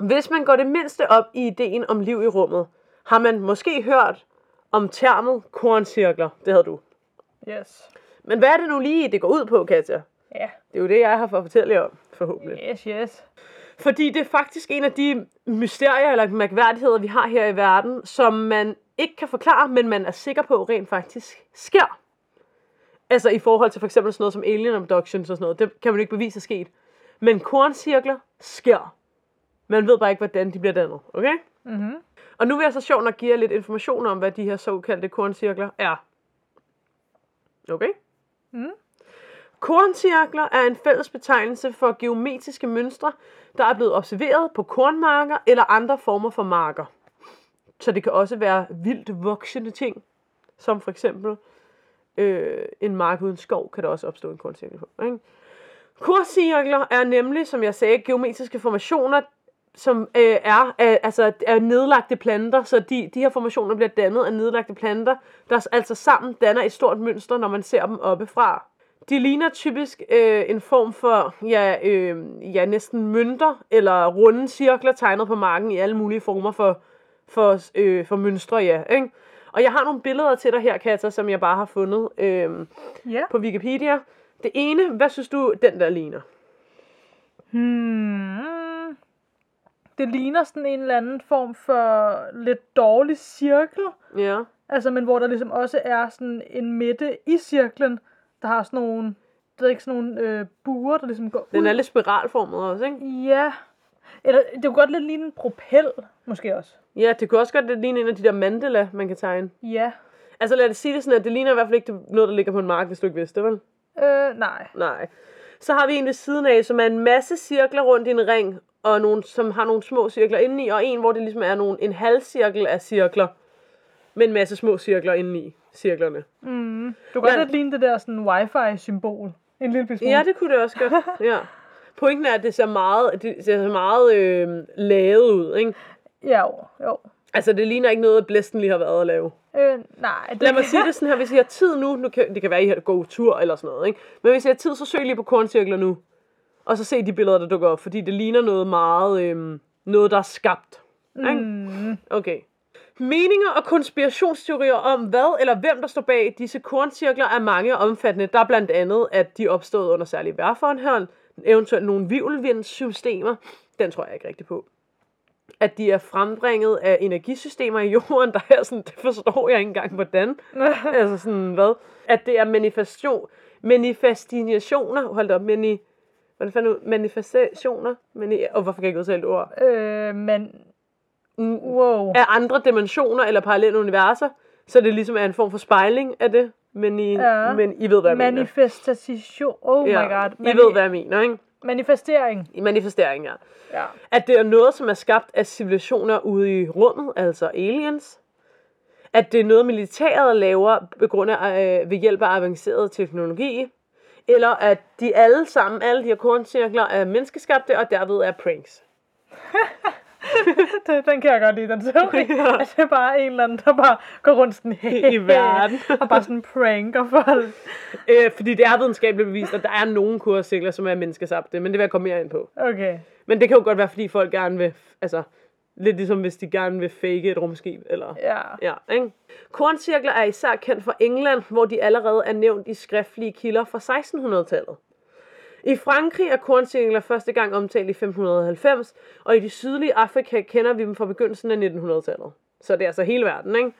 Hvis man går det mindste op i ideen om liv i rummet, har man måske hørt om termet korncirkler. Det havde du.
Yes.
Men hvad er det nu lige, det går ud på, Katja?
Ja,
Det er jo det, jeg har for at fortælle jer om, forhåbentlig.
yes, yes.
Fordi det er faktisk en af de mysterier eller mærkværdigheder, vi har her i verden, som man ikke kan forklare, men man er sikker på rent faktisk sker. Altså i forhold til for eksempel sådan noget som alien abductions og sådan noget, det kan man ikke bevise er sket. Men korncirkler sker. Man ved bare ikke, hvordan de bliver dannet, okay?
Mm-hmm.
Og nu vil jeg så sjovt nok give jer lidt information om, hvad de her såkaldte korncirkler er. Okay?
Mm.
Korncirkler er en fælles betegnelse for geometriske mønstre, der er blevet observeret på kornmarker eller andre former for marker. Så det kan også være vildt voksende ting, som for eksempel øh, en mark uden skov, kan der også opstå en korncirkel på. Ikke? Korncirkler er nemlig, som jeg sagde, geometriske formationer, som øh, er, øh, altså, er nedlagte planter, så de, de her formationer bliver dannet af nedlagte planter, der s- altså sammen danner et stort mønster, når man ser dem oppefra. De ligner typisk øh, en form for, ja, øh, ja, næsten mønter eller runde cirkler tegnet på marken i alle mulige former for, for, øh, for mønstre, ja. Ikke? Og jeg har nogle billeder til dig her, Katja, som jeg bare har fundet øh,
Ja.
på Wikipedia. Det ene, hvad synes du, den der ligner?
Hmm. Det ligner sådan en eller anden form for lidt dårlig cirkel.
Ja.
Altså, men hvor der ligesom også er sådan en midte i cirklen, der har sådan nogle, det er ikke sådan nogle øh, buer, der ligesom går
Den
ud.
er lidt spiralformet også, ikke?
Ja. Eller det kunne godt lidt ligne en propel, måske også.
Ja, det kunne også godt lidt ligne en af de der mandala, man kan tegne.
Ja.
Altså lad os sige det sådan, at det ligner i hvert fald ikke det- noget, der ligger på en mark, hvis du ikke vidste det, vel?
Øh, nej.
Nej. Så har vi en ved siden af, som er en masse cirkler rundt i en ring, og nogle, som har nogle små cirkler indeni, og en, hvor det ligesom er nogle, en halvcirkel af cirkler, med en masse små cirkler indeni cirklerne.
Mm. Du kan godt
Men-
lidt ligne det der sådan wifi-symbol. En lille bitte smule.
Ja, det kunne det også godt. Ja. Pointen er, at det ser meget, det ser meget øh, lavet ud, ikke?
Ja, jo, jo.
Altså, det ligner ikke noget, blæsten lige har været at lave.
Øh, nej. Det
Lad mig sige det sådan her, hvis I har tid nu, nu kan, det kan være, I har gået tur eller sådan noget, ikke? men hvis I har tid, så søg lige på korncirkler nu, og så se de billeder, der dukker op, fordi det ligner noget meget, øhm, noget der er skabt. Ikke?
Mm.
Okay. Meninger og konspirationsteorier om hvad eller hvem, der står bag disse korncirkler, er mange og omfattende. Der er blandt andet, at de opstod under særlige vejrforhold, eventuelt nogle vivlvindsystemer, den tror jeg ikke rigtig på. At de er frembringet af energisystemer i jorden, der er sådan, det forstår jeg ikke engang, hvordan. Altså sådan, hvad? At det er manifestation, manifestationer, hold da op, mani, hvordan fandt ud, manifestationer, mani, og hvorfor kan jeg ikke udtale et ord?
øh, men
Mm,
wow.
af andre dimensioner eller parallelle universer, så det ligesom er en form for spejling af det. Men I,
Ja.
ja. men I ved, hvad jeg mener.
Manifestation. Oh my god.
I ved, hvad jeg mener, ikke?
Manifestering.
I manifestering, ja.
Ja.
At det er noget, som er skabt af civilisationer ude i rummet, altså aliens. At det er noget, militæret laver på grund af, øh, ved hjælp af avanceret teknologi. Eller at de alle sammen, alle de her korncirkler, er menneskeskabte, og derved er pranks.
Den, den kan jeg godt lide, den teori.
Ja.
At det er bare en eller anden, der bare går rundt sådan
I- i verden.
og bare sådan pranker folk.
Øh, fordi det er videnskabeligt bevist, at der er nogle korncirkler, som er menneskeskabte, men det vil jeg komme mere ind på.
Okay.
Men det kan jo godt være, fordi folk gerne vil, altså, lidt ligesom hvis de gerne vil fake et rumskib, eller...
Ja.
Ja, ikke? Korncirkler er især kendt fra England, hvor de allerede er nævnt i skriftlige kilder fra 1600-tallet. I Frankrig er korncirkler første gang omtalt i 1590, og i det sydlige Afrika kender vi dem fra begyndelsen af 1900-tallet. Så det er altså hele verden, ikke?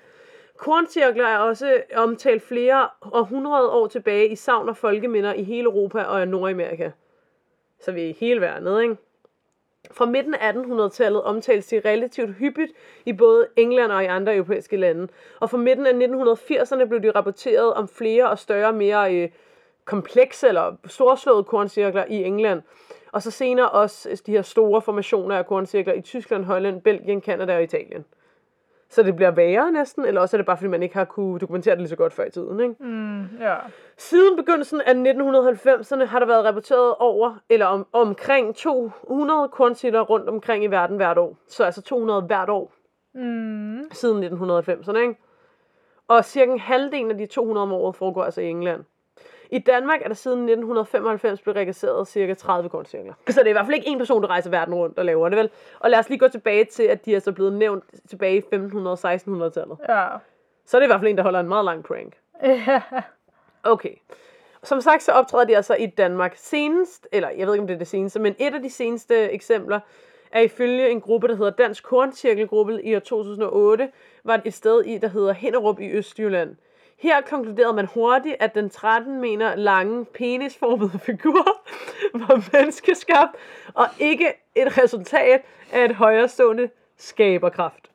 Korncirkler er også omtalt flere århundrede år tilbage i savn og folkeminder i hele Europa og i Nordamerika. Så vi er i hele verden, ikke? Fra midten af 1800-tallet omtales de relativt hyppigt i både England og i andre europæiske lande. Og fra midten af 1980'erne blev de rapporteret om flere og større, mere øh, komplekse eller storslåede korncirkler i England. Og så senere også øh, de her store formationer af korncirkler i Tyskland, Holland, Belgien, Kanada og Italien. Så det bliver værre næsten, eller også er det bare, fordi man ikke har kunne dokumentere det lige så godt før i tiden, ikke?
Mm, ja.
Siden begyndelsen af 1990'erne har der været rapporteret over, eller om, omkring 200 kornsitter rundt omkring i verden hvert år. Så altså 200 hvert år
Mm.
siden 1990'erne, ikke? Og cirka halvdelen af de 200 om året foregår altså i England. I Danmark er der siden 1995 blevet registreret cirka 30 korncirkler. Så det er i hvert fald ikke en person, der rejser verden rundt og laver det, vel? Og lad os lige gå tilbage til, at de er så blevet nævnt tilbage i 1500-1600-tallet.
Ja.
Så er det i hvert fald en, der holder en meget lang prank.
Ja.
Okay. Som sagt, så optræder de altså i Danmark senest, eller jeg ved ikke, om det er det seneste, men et af de seneste eksempler er ifølge en gruppe, der hedder Dansk Korncirkelgruppe i år 2008, var et sted i, der hedder Hinderup i Østjylland. Her konkluderede man hurtigt, at den 13 meter lange penisformede figur var menneskeskabt og ikke et resultat af et højrestående skaberkraft.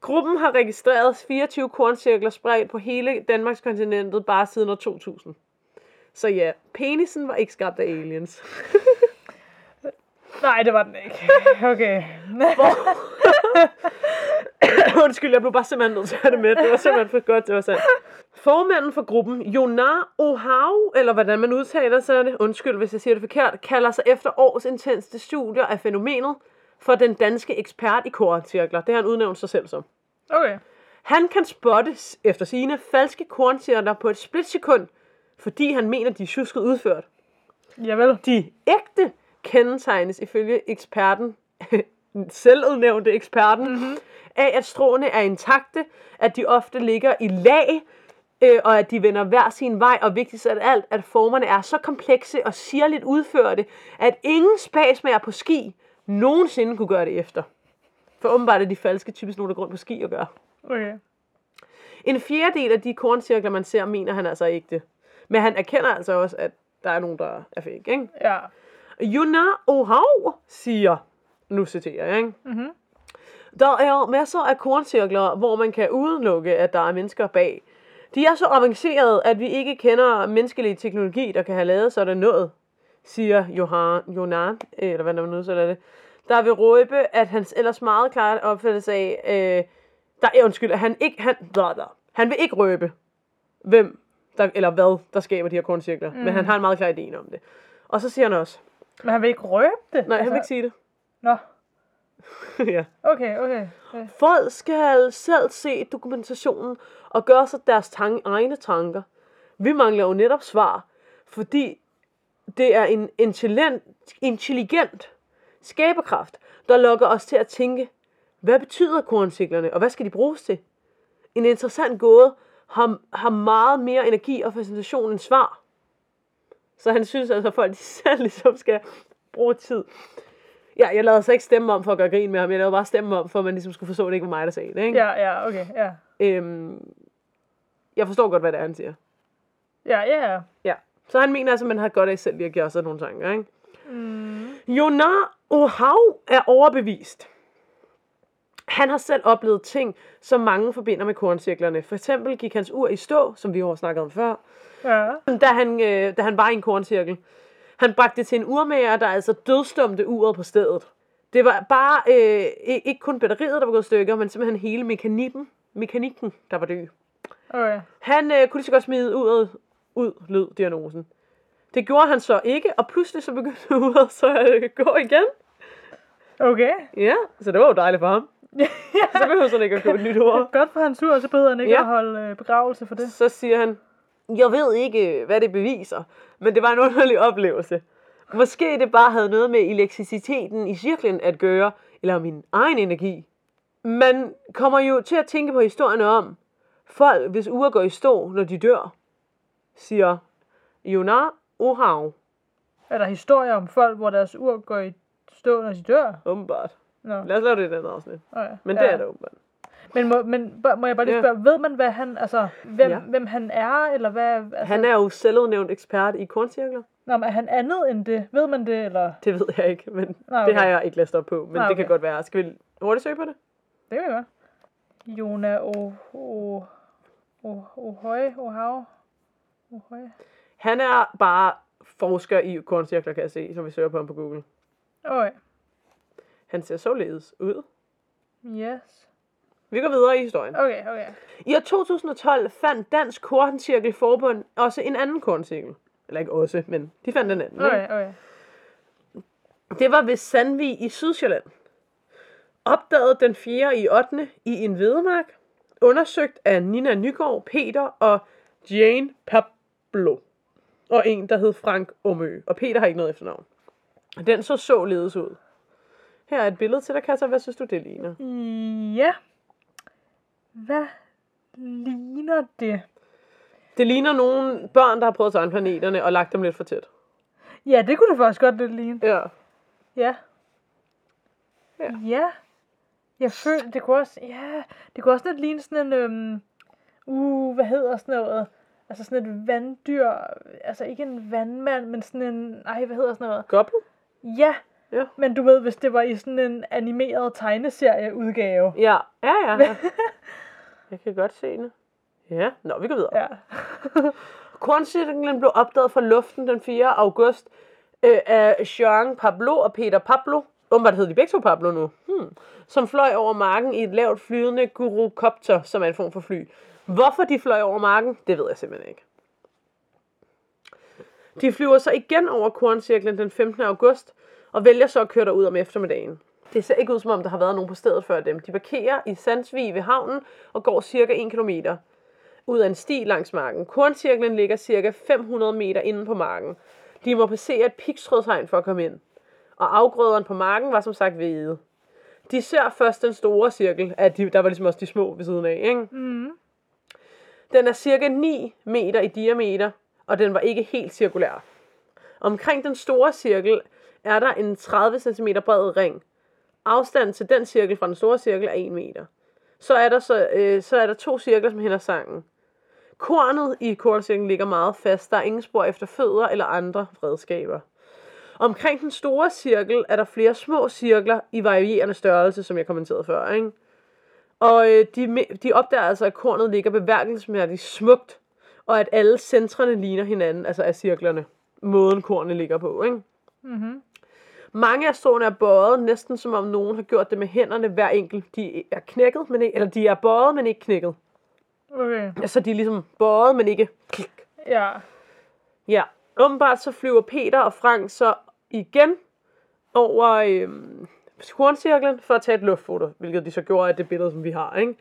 Gruppen har registreret 24 korncirkler spredt på hele Danmarks kontinentet bare siden år 2000. Så ja, penisen var ikke skabt af aliens.
Nej, det var den ikke. Okay.
Undskyld, jeg blev bare simpelthen nødt til at have det med. Det var simpelthen for godt, det var sandt. Formanden for gruppen, Jonar Ohau, eller hvordan man udtaler sig det, undskyld hvis jeg siger det forkert, kalder sig efter års intense studier af fænomenet for den danske ekspert i korncirkler. Det har han udnævnt sig selv som.
Okay.
Han kan spotte s- efter sine falske korncirkler på et splitsekund, fordi han mener, de er tjusket udført.
Javel.
De ægte kendetegnes ifølge eksperten, den selvudnævnte eksperten, mm-hmm. af at stråene er intakte, at de ofte ligger i lag, øh, og at de vender hver sin vej, og vigtigst af alt, at formerne er så komplekse og sirligt udførte, at ingen spasmager på ski nogensinde kunne gøre det efter. For åbenbart er de falske typisk nogen, der går rundt på ski og gør.
Okay.
En fjerdedel af de korncirkler, man ser, mener han altså ikke det. Men han erkender altså også, at der er nogen, der er fake, ikke?
Ja.
Juna Ohau siger, nu citerer jeg, ikke?
Mhm.
Der er masser af korncirkler, hvor man kan udelukke, at der er mennesker bag. De er så avancerede, at vi ikke kender menneskelig teknologi, der kan have lavet sådan noget, siger Johan, Jonan, øh, eller hvad der nu så er det, der vil råbe, at hans ellers meget klart opfattelse af, øh, der, ja, undskyld, at han ikke, han, bla, bla, han vil ikke røbe, hvem, der, eller hvad, der skaber de her korncirkler, mm. men han har en meget klar idé om det. Og så siger han også,
Men han vil ikke røbe det? Altså.
Nej, han vil ikke sige det.
Nå.
ja.
Okay, okay. Ja.
Folk skal selv se dokumentationen og gøre sig deres tan- egne tanker. Vi mangler jo netop svar, fordi det er en intelligent, intelligent skaberkraft, der lokker os til at tænke, hvad betyder kornsiklerne, og hvad skal de bruges til? En interessant gåde har, har meget mere energi og fascination end svar. Så han synes altså, at folk de selv ligesom skal bruge tid. Ja, jeg lavede så ikke stemme om for at gøre grin med ham. Jeg lavede bare stemme om, for at man ligesom skulle forstå, at det ikke var mig, der sagde det. Ikke?
ja, ja, okay. Ja,
Øhm, jeg forstår godt, hvad det er, han siger.
ja, ja. ja.
Ja. Så han mener altså, at man har godt af selv lige at gøre sig nogle tanker, ikke?
Mm.
Jonar Ohau er overbevist. Han har selv oplevet ting, som mange forbinder med korncirklerne. For eksempel gik hans ur i stå, som vi jo har snakket om før,
ja.
da han, øh, da han var i en korncirkel. Han bragte det til en urmager, der altså dødstumte uret på stedet. Det var bare øh, i- ikke kun batteriet, der var gået i stykker, men simpelthen hele mekanikken, mekanikken der var død.
Okay.
Han øh, kunne lige så godt smide uret ud, lød diagnosen. Det gjorde han så ikke, og pludselig så begyndte uret så at øh, gå igen.
Okay.
Ja, så det var jo dejligt for ham. Så behøver han ikke at købe et nyt ord.
Godt for hans ur, så behøver han ikke
Ja.
ja. at holde øh, begravelse for det.
Så siger han, jeg ved ikke, hvad det beviser, men det var en underlig oplevelse. Måske det bare havde noget med elektriciteten i cirklen at gøre, eller min egen energi. Man kommer jo til at tænke på historierne om folk, hvis uger går i stå, når de dør, siger Jonar Ohav.
Er der historier om folk, hvor deres ur går i stå, når de dør?
Åbenbart.
Nå.
Lad os lave det i den afsnit.
Okay.
Men det er det åbenbart.
Men må, men bør- må jeg bare lige
Ja.
spørge, ved man, hvad han, altså, hvem,
Ja.
ja. hvem han er, eller hvad, altså, han...
Han er jo selvudnævnt ekspert i korncirkler.
Nå, men er han andet end det? Ved man det, eller?
Det ved jeg ikke, men
Nej,
Det har
okay.
jeg ikke læst op på, men
Nej,
det kan
okay.
godt være. Skal vi hurtigt søge på det?
Det kan vi godt. Jona O... O... O... Ohøj, Ohav. Ohøj.
Han er bare forsker i korncirkler, kan jeg se, når vi søger på ham på Google.
Okay.
Han ser således ud.
Yes.
Vi går videre i historien.
Okay, okay.
I år 2012 fandt Dansk Korncirkelforbund også en anden korncirkel. Eller ikke også, men de fandt en anden. ikke?
Okay, okay.
Det var ved Sandvig i Sydsjælland. Opdaget den 4. i 8. i en hvedemark. Undersøgt af Nina Nygaard, Peter og Jane Pablo. Og en, der hed Frank Omø. Og Peter har ikke noget efternavn. Den så således ud. Her er et billede til dig, Katja. Hvad synes du, det ligner?
Ja. Hvad ligner det?
Det ligner nogle børn, der har prøvet at tegne planeterne og lagt dem lidt for tæt.
Ja, det kunne det faktisk godt lidt ligne.
Ja.
Ja.
Ja.
Ja. Jeg føler, det kunne også, ja, det kunne også lidt ligne sådan en, øhm, uh, hvad hedder sådan noget? Altså sådan et vanddyr, altså ikke en vandmand, men sådan en, ej, hvad hedder sådan noget?
Goblin?
Ja,
Ja.
men du ved, hvis det var i sådan en animeret tegneserieudgave.
Ja, ja, ja. ja. Jeg kan godt se det. Ja, nå, vi går videre.
Ja.
Korncirklen blev opdaget fra luften den 4. august øh, af Jean Pablo og Peter Pablo. Åbenbart hedder de begge to Pablo nu. Hmm. Som fløj over marken i et lavt flydende gurukopter, som er en form for fly. Hvorfor de fløj over marken, det ved jeg simpelthen ikke. De flyver så igen over korncirklen den 15. august, og vælger så at køre derud om eftermiddagen. Det ser ikke ud, som om der har været nogen på stedet før dem. De parkerer i Sandsvig ved havnen og går cirka 1 kilometer ud af en sti langs marken. Korncirklen ligger cirka 500 meter inde på marken. De må passere et pigtrådshegn for at komme ind. Og afgrøderne på marken var som sagt hvide. De ser først den store cirkel, at de, der var ligesom også de små ved siden af, ikke?
Mm.
Den er cirka 9 meter i diameter, og den var ikke helt cirkulær. Omkring den store cirkel er der en 30 cm bred ring. Afstanden til den cirkel fra den store cirkel er 1 meter. Så er der, så, øh, så er der to cirkler, som hænder sangen. Kornet i korncirklen ligger meget fast. Der er ingen spor efter fødder eller andre redskaber. Omkring den store cirkel er der flere små cirkler i varierende størrelse, som jeg kommenterede før. Ikke? Og øh, de, me- de opdager altså, at kornet ligger beværkelsesmærdigt smukt, og at alle centrene ligner hinanden, altså af cirklerne. Måden kornet ligger på, ikke?
Mm-hmm.
Mange af stråene er bøjet, næsten som om nogen har gjort det med hænderne hver enkelt. De er knækket, men ikke, eller de er bøjet, men ikke knækket.
Okay.
Altså, de er ligesom bøjet, men ikke klik.
Ja.
Ja, åbenbart så flyver Peter og Frank så igen over, øhm, korncirklen for at tage et luftfoto, hvilket de så gjorde af det billede, som vi har. Ikke?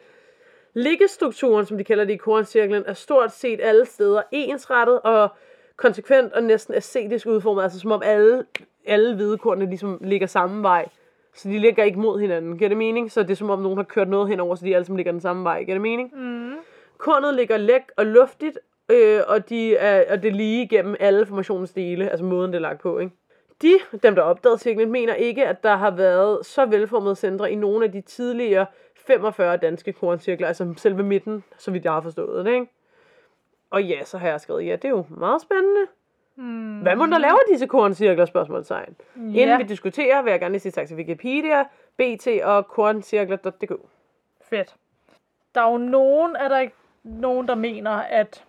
Liggestrukturen, som de kalder det i korncirklen, er stort set alle steder ensrettet og konsekvent og næsten æstetisk udformet, altså som om alle, alle hvidekornene ligesom ligger samme vej. Så de ligger ikke mod hinanden, giver det mening? Så det er som om nogen har kørt noget henover, så de alle sammen ligger den samme vej, giver det mening?
Mm.
Kornet ligger læk og luftigt, øh, og, de er, og det er lige igennem alle formationens dele, altså måden det er lagt på, ikke? De, dem der opdagede cirklen, mener ikke, at der har været så velformede centre i nogle af de tidligere 45 danske korncirkler, altså selve midten, så vidt jeg har forstået det, ikke? Og ja, så har jeg skrevet, ja, det er jo meget spændende.
Mm.
Hvad må der lave disse korncirkler, spørgsmålstegn?
Ja.
Yeah. Inden vi diskuterer, vil jeg gerne lige sige tak til Wikipedia, BT og korncirkler.dk.
Fedt. Der er jo nogen, er der ikke nogen, der mener, at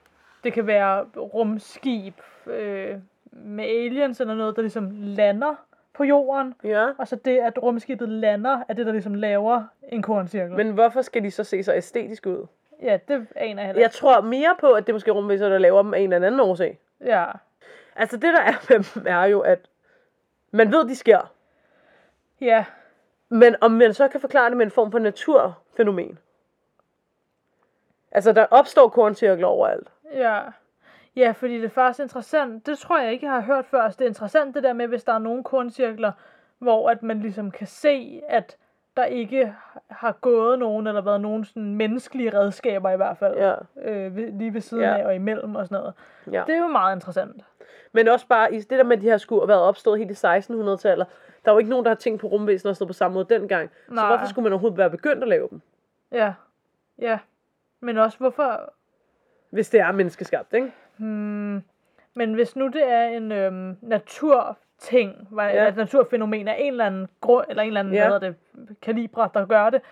det kan være rumskib øh, med aliens eller noget, der ligesom lander på jorden.
Ja.
Og så det, at rumskibet lander, er det, der ligesom laver en korncirkel.
Men hvorfor skal de så se så æstetisk ud?
ja, det aner jeg heller
Jeg tror mere på, at det måske er rumvæsener, der laver dem af en eller anden årsag.
ikke. Ja.
Altså det der er med dem, er jo, at man ved, de sker.
Ja.
Men om man så kan forklare det med en form for naturfænomen. Altså der opstår korncirkler overalt.
Ja. Ja, fordi det er faktisk interessant. Det tror jeg ikke, jeg har hørt før. Altså, det er interessant det der med, hvis der er nogle korncirkler, hvor at man ligesom kan se, at der ikke har gået nogen, eller været nogen sådan menneskelige redskaber i hvert fald,
Ja.
øh, ved- lige ved siden
Ja.
af og imellem og sådan noget.
Ja.
Det er jo meget interessant.
Men også bare i det der med, at de her skulle have været opstået helt i 1600-tallet. Der er jo ikke nogen, der har tænkt på rumvæsener og sådan noget på samme måde dengang. Nej. Så
Nej.
hvorfor skulle man overhovedet være begyndt at lave dem?
Ja. Ja. Men også hvorfor...
Hvis det er menneskeskabt, ikke?
Hmm, men hvis nu det er en øhm, naturting, var,
Ja.
ja. et naturfænomen af en eller anden grund, eller en eller anden,
Ja.
ja. hvad hedder det, kalibre, der gør det,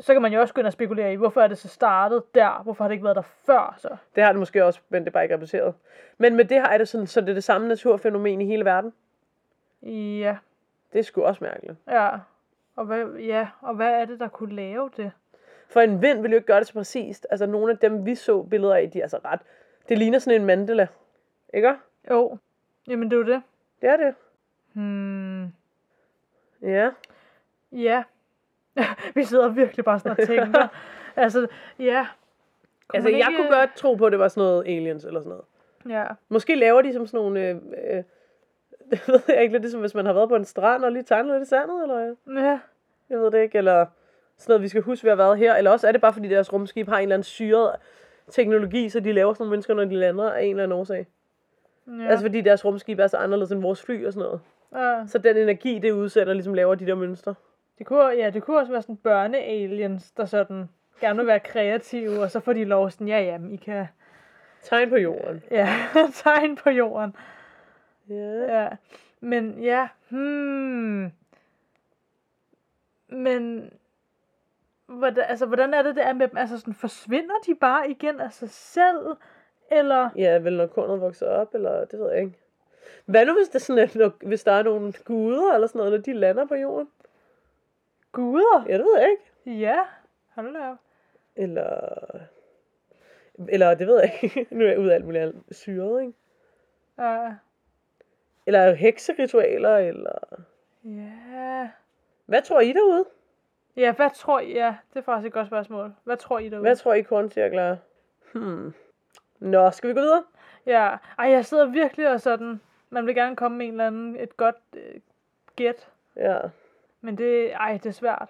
så kan man jo også gå ind og spekulere i, hvorfor er det så startet der? Hvorfor har det ikke været der før så?
Det har det måske også, men det er bare ikke rapporteret. Men med det her er det sådan, så det er det samme naturfænomen i hele verden.
Ja,
Det er sgu også mærkeligt.
ja. Og hvad, ja, og hvad er det, der kunne lave det?
For en vind ville jo ikke gøre det så præcist. Altså, nogle af dem, vi så billeder af, de er altså ret... Det ligner sådan en mandala. Ikke? også?
Jo, jamen det er jo det.
Det er det.
Hmm.
Ja.
Ja. Vi sidder virkelig bare sådan og tænker. altså, ja. Kunne
Altså,
man
jeg
ikke-
kunne godt tro på, at det var sådan noget aliens eller sådan noget.
Ja.
Måske laver de som sådan nogle... Øh, øh, det ved jeg ikke, lidt ligesom hvis man har været på en strand og lige tegnet lidt i sandet, eller hvad?
Ja.
jeg ved det ikke, eller sådan noget, vi skal huske, vi har været her. Eller også er det bare, fordi deres rumskib har en eller anden syret teknologi, så de laver sådan nogle mennesker, når de lander af en eller anden årsag. Ja.
ja.
Altså fordi deres rumskib er så anderledes end vores fly og sådan noget.
ja.
Så den energi, det udsender, ligesom laver de der mønstre.
Det kunne, ja, det kunne også være sådan børne-aliens, der sådan gerne vil være kreative, og så får de lov sådan, ja, ja, men I kan
Tegn på jorden.
ja, tegn på jorden.
Ja.
Ja. Men ja, hmm. Men hvordan, altså, hvordan er det, det er med dem? Altså, sådan, forsvinder de bare igen af sig selv? Eller,
Ja, vel når kornet vokser op, eller det ved jeg ikke. Hvad nu, hvis, det sådan, at, når- hvis der er nogle guder eller sådan noget, når de lander på jorden?
guder?
Ja, det ved jeg ikke.
Ja, hold da op.
Eller... Eller det ved jeg ikke. nu er jeg ude af alt muligt andet syret, ikke?
Ja.
Eller hekseritualer, eller...
Ja.
Hvad tror I derude?
Ja, hvad tror I? Ja, det er faktisk et godt spørgsmål. Hvad tror I derude?
Hvad tror I korncirkler er? Hmm. Nå, skal vi gå videre?
Ja, ej, jeg sidder virkelig og sådan, man vil gerne komme med en eller anden, et godt øh, gæt,
Ja.
men det, ej, det er svært.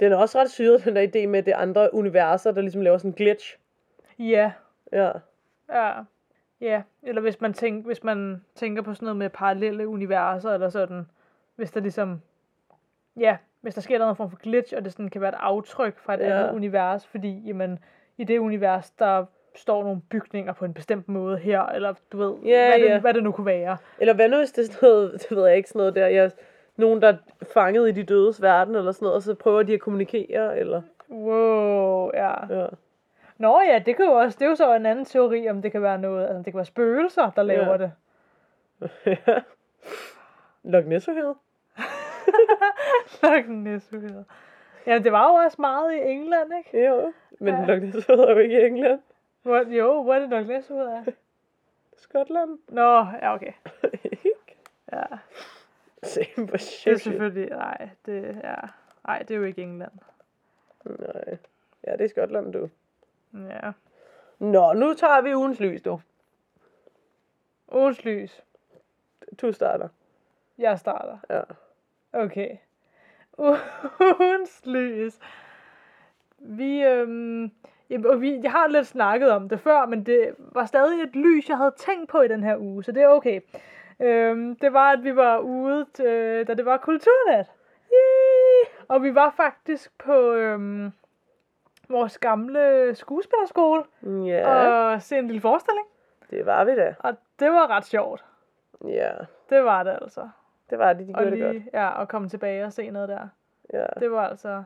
Den er også ret syret, den der idé med, at det er andre universer, der ligesom laver sådan en glitch.
Ja,
Ja.
ja, ja, eller hvis man, tænker, hvis man tænker på sådan noget med parallelle universer, eller sådan, hvis der ligesom, ja, hvis der sker en eller anden form for glitch, og det sådan kan være et aftryk fra et
Ja.
ja. andet univers, fordi, jamen, i det univers, der står nogle bygninger på en bestemt måde her, eller du ved,
Ja,
hvad,
ja.
Det, hvad det nu kunne være.
Eller hvad nu, hvis det er sådan noget, det ved jeg ikke, sådan noget der, jeg, nogen, der er fanget i de dødes verden, eller sådan noget, og så prøver de at kommunikere, eller...
Wow, ja.
Ja.
Nå ja, det kan jo også, det er jo så en anden teori, om det kan være noget, altså det kan være spøgelser, der
Ja.
laver ja. det.
Loch Ness-uhyret.
Fucking næsehøder. Ja, det var jo også meget i England, ikke?
Jo. Men ja.
Ja.
Loch ness er jo ikke i England.
Hvor, jo, hvor er det nok næsehøder?
Skotland.
Nå, ja, okay. Ja.
Same for
Det er
shit.
selvfølgelig, nej, det er, nej, det er jo ikke England.
Nej. Ja, det er Skotland, du.
Ja.
Nå, nu tager vi ugens lys, du.
Ugens lys.
Du starter.
Jeg starter.
Ja.
Okay. Ugens lys. Vi, øhm, jamen, og vi, jeg har lidt snakket om det før, men det var stadig et lys, jeg havde tænkt på i den her uge, så det er okay. Øhm, det var, at vi var ude, øh, da det var kulturnat. Yay! Og vi var faktisk på øhm, vores gamle skuespillerskole
Ja,
og se en lille forestilling.
det var vi da.
Og det var ret sjovt.
Ja,
Det var det altså.
det var det. De
Og
gjorde det godt.
lige, ja, og komme tilbage og se noget der.
Ja.
Det var altså...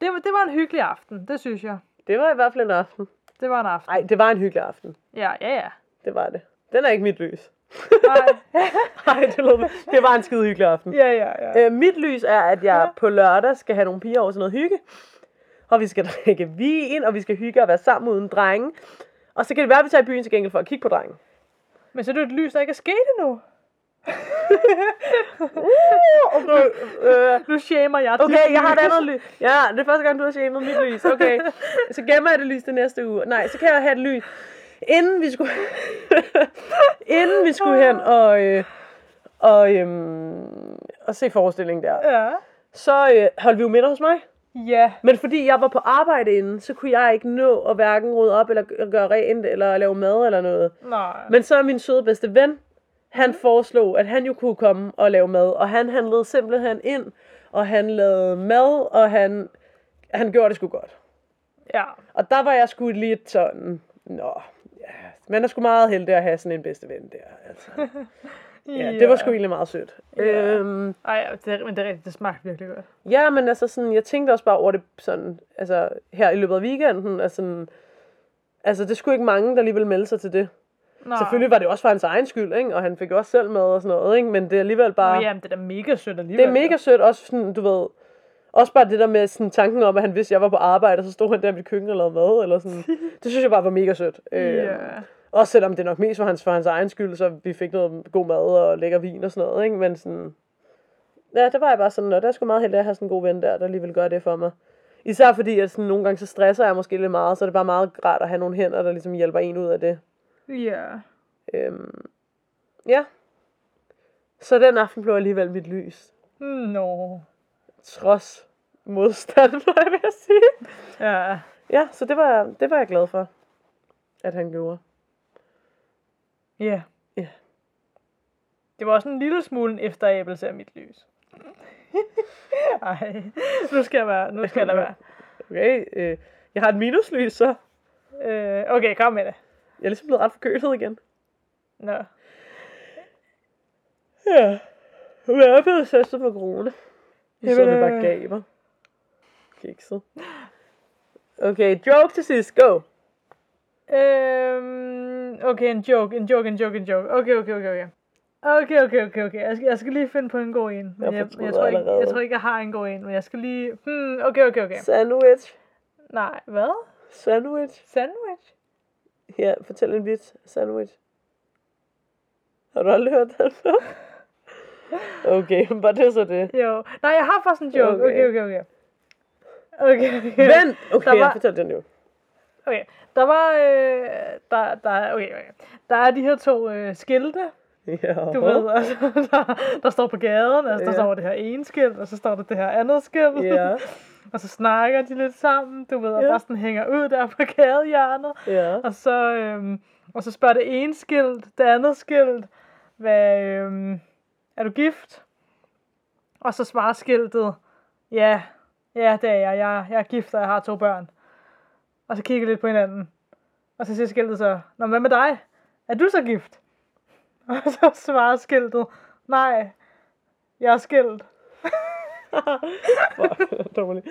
Det var, det var en hyggelig aften, det synes jeg.
Det var i hvert fald en aften.
Det var en aften.
Nej, det var en hyggelig aften.
Ja, ja, ja.
Det var det. Den er ikke mit lys.
Nej.
Nej, det, lød, det var en skide hyggelig aften.
ja, ja, ja.
Øh, mit lys er, at jeg
Ja.
på lørdag skal have nogle piger over til noget hygge. Og vi skal drikke vin, og vi skal hygge og være sammen uden drenge. Og så kan det være, at vi tager i byen til gengæld for at kigge på drengen.
Men så er det jo et lys, der ikke er sket endnu.
Okay, øh,
Nu shamer jeg dit
okay jeg har et
lys.
andet lys. Ja, det er første gang, du har shamed mit lys. Okay, så gemmer jeg det lys det næste uge. Nej, så kan jeg have et lys. Inden vi skulle, inden vi skulle hen og, øh, og, øhm, og se forestillingen der,
Ja.
så øh, holdt vi jo middag hos mig.
Ja.
Men fordi jeg var på arbejde inden, så kunne jeg ikke nå at hverken rydde op, eller g- gøre rent, eller lave mad eller noget.
Nej.
Men så er min søde bedste ven, han foreslog, at han jo kunne komme og lave mad. Og han handlede simpelthen ind, og han lavede mad, og han, han gjorde det sgu godt.
Ja.
Og der var jeg sgu lidt sådan, nå, ja, man er sgu meget heldig at have sådan en bedste ven der. Altså. Ja, det var sgu egentlig meget sødt.
Ja.
Øhm,
Ej, ja, det, er- men det er rigtigt, det smagte virkelig godt.
Ja, men altså sådan, jeg tænkte også bare over det sådan, altså her i løbet af weekenden, altså, sådan, altså det skulle ikke mange, der lige ville melde sig til det.
Nå.
Selvfølgelig var det også for hans egen skyld, ikke? og han fik jo også selv med og sådan noget, ikke? men det er alligevel bare,
Nå, jamen, det er da mega sødt
det
alligevel.
er mega sødt, også sådan, du ved, også bare det der med sådan, tanken om, at han vidste, at jeg var på arbejde, og så stod han der i mit køkken og lavede mad, eller sådan. Det synes jeg bare var mega sødt. Øh,
Ja.
Også selvom det nok mest var hans, for hans egen skyld, så vi fik noget god mad og lækker vin og sådan noget, ikke? Men sådan... Ja, der var jeg bare sådan, og der skulle meget heldig at have sådan en god ven der, der lige vil gøre det for mig. Især fordi, at sådan, nogle gange så stresser jeg måske lidt meget, så er det bare meget rart at have nogle hænder, der ligesom hjælper en ud af det. Øh.
Ja.
Øhm, ja. Så den aften blev alligevel mit lys.
Hmm, Nå.
Trods modstand, var jeg ved at sige.
Ja.
Ja, så det var, det var jeg glad for, at han gjorde.
Ja.
Ja.
Det var også en lille smule en efteræbelse af mit lys. Ej, nu skal jeg være, nu skal jeg lade være.
Okay, øh, jeg har et minuslys, så
Øh, okay, kom med det.
jeg er ligesom blevet ret forkølet igen.
Nå.
Ja. Hvad er blevet testet for corona? Jeg sidder
Jamen,
vi
øh.
bare gaber. Kikset. Okay, joke til sidst. Go.
Øhm, okay, en joke, en joke, en joke, en joke. Okay, okay, okay, okay. Okay, okay, okay, okay. Jeg skal, jeg skal lige finde på en god en.
Jeg
Men jeg, jeg,
fortryder
tror ikke, jeg
allerede.
tror ikke, jeg har en god en, men jeg skal lige... Hmm, okay, okay, okay.
Sandwich.
Nej, hvad?
Sandwich.
Sandwich?
Ja, fortæl en vits. Sandwich. Har du aldrig hørt den før? Okay, men var det så det?
Jo. Nej, jeg har faktisk en joke.
Okay.
Okay, okay, okay. Okay, okay.
Vent! Okay,
Der var-
jeg fortæl den jo.
Okay, der var, øh, der, der, okay, okay. der er de her to øh, skilte,
Ja.
du ved, altså, der, der står på gaden, altså, der
Ja.
står det her ene skilt, og så står der det her andet skilt,
Ja,
og så snakker de lidt sammen, du ved, og
Ja.
bare sådan hænger ud der på gadehjørnet,
ja.
og så, øhm, og så spørger det ene skilt, det andet skilt, hvad, øhm, er du gift? Og så svarer skiltet, ja, ja, det er jeg, jeg, jeg er gift, og jeg har to børn. Og så kigger de lidt på hinanden. Og så siger skiltet så, Nå, men hvad med dig? Er du så gift? Og så svarer skiltet, nej, jeg er skilt.
Fuck, dårligt.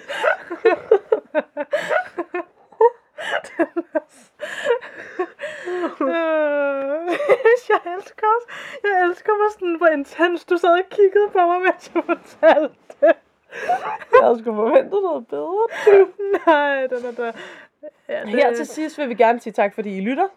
Øh, jeg elsker også. Jeg elsker, hvor, sådan, hvor intens du sad og kiggede på mig, mens jeg fortalte det.
Jeg havde sgu forventet noget bedre.
Nej, den er der. Ja,
Her til sidst vil vi gerne sige tak, fordi I lytter.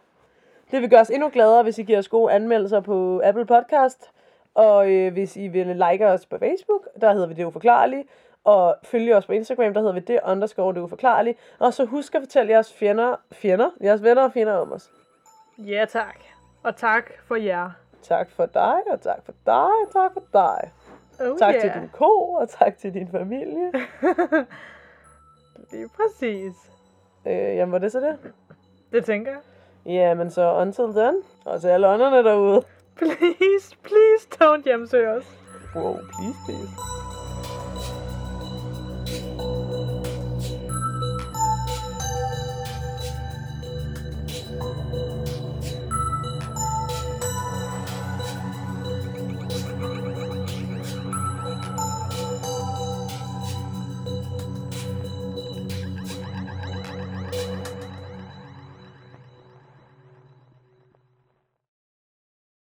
Det vil gøre os endnu gladere, hvis I giver os gode anmeldelser på Apple Podcast. Og øh, hvis I vil like os på Facebook, der hedder vi Det Uforklarlige. Og følge os på Instagram, der hedder vi Det underscore Det Uforklarlige. Og så husk at fortælle jeres fjender, fjender, jeres venner og fjender om os.
Ja, tak. Og tak for jer.
Tak for dig, og tak for dig, og tak for dig.
Oh,
Tak
yeah.
til din ko, og tak til din familie.
Lige præcis.
øh, jamen, var det så det?
Det tænker jeg.
Jamen, så until then. Og til alle ånderne derude.
Please, please don't hjemsøge os.
Wow, please, please.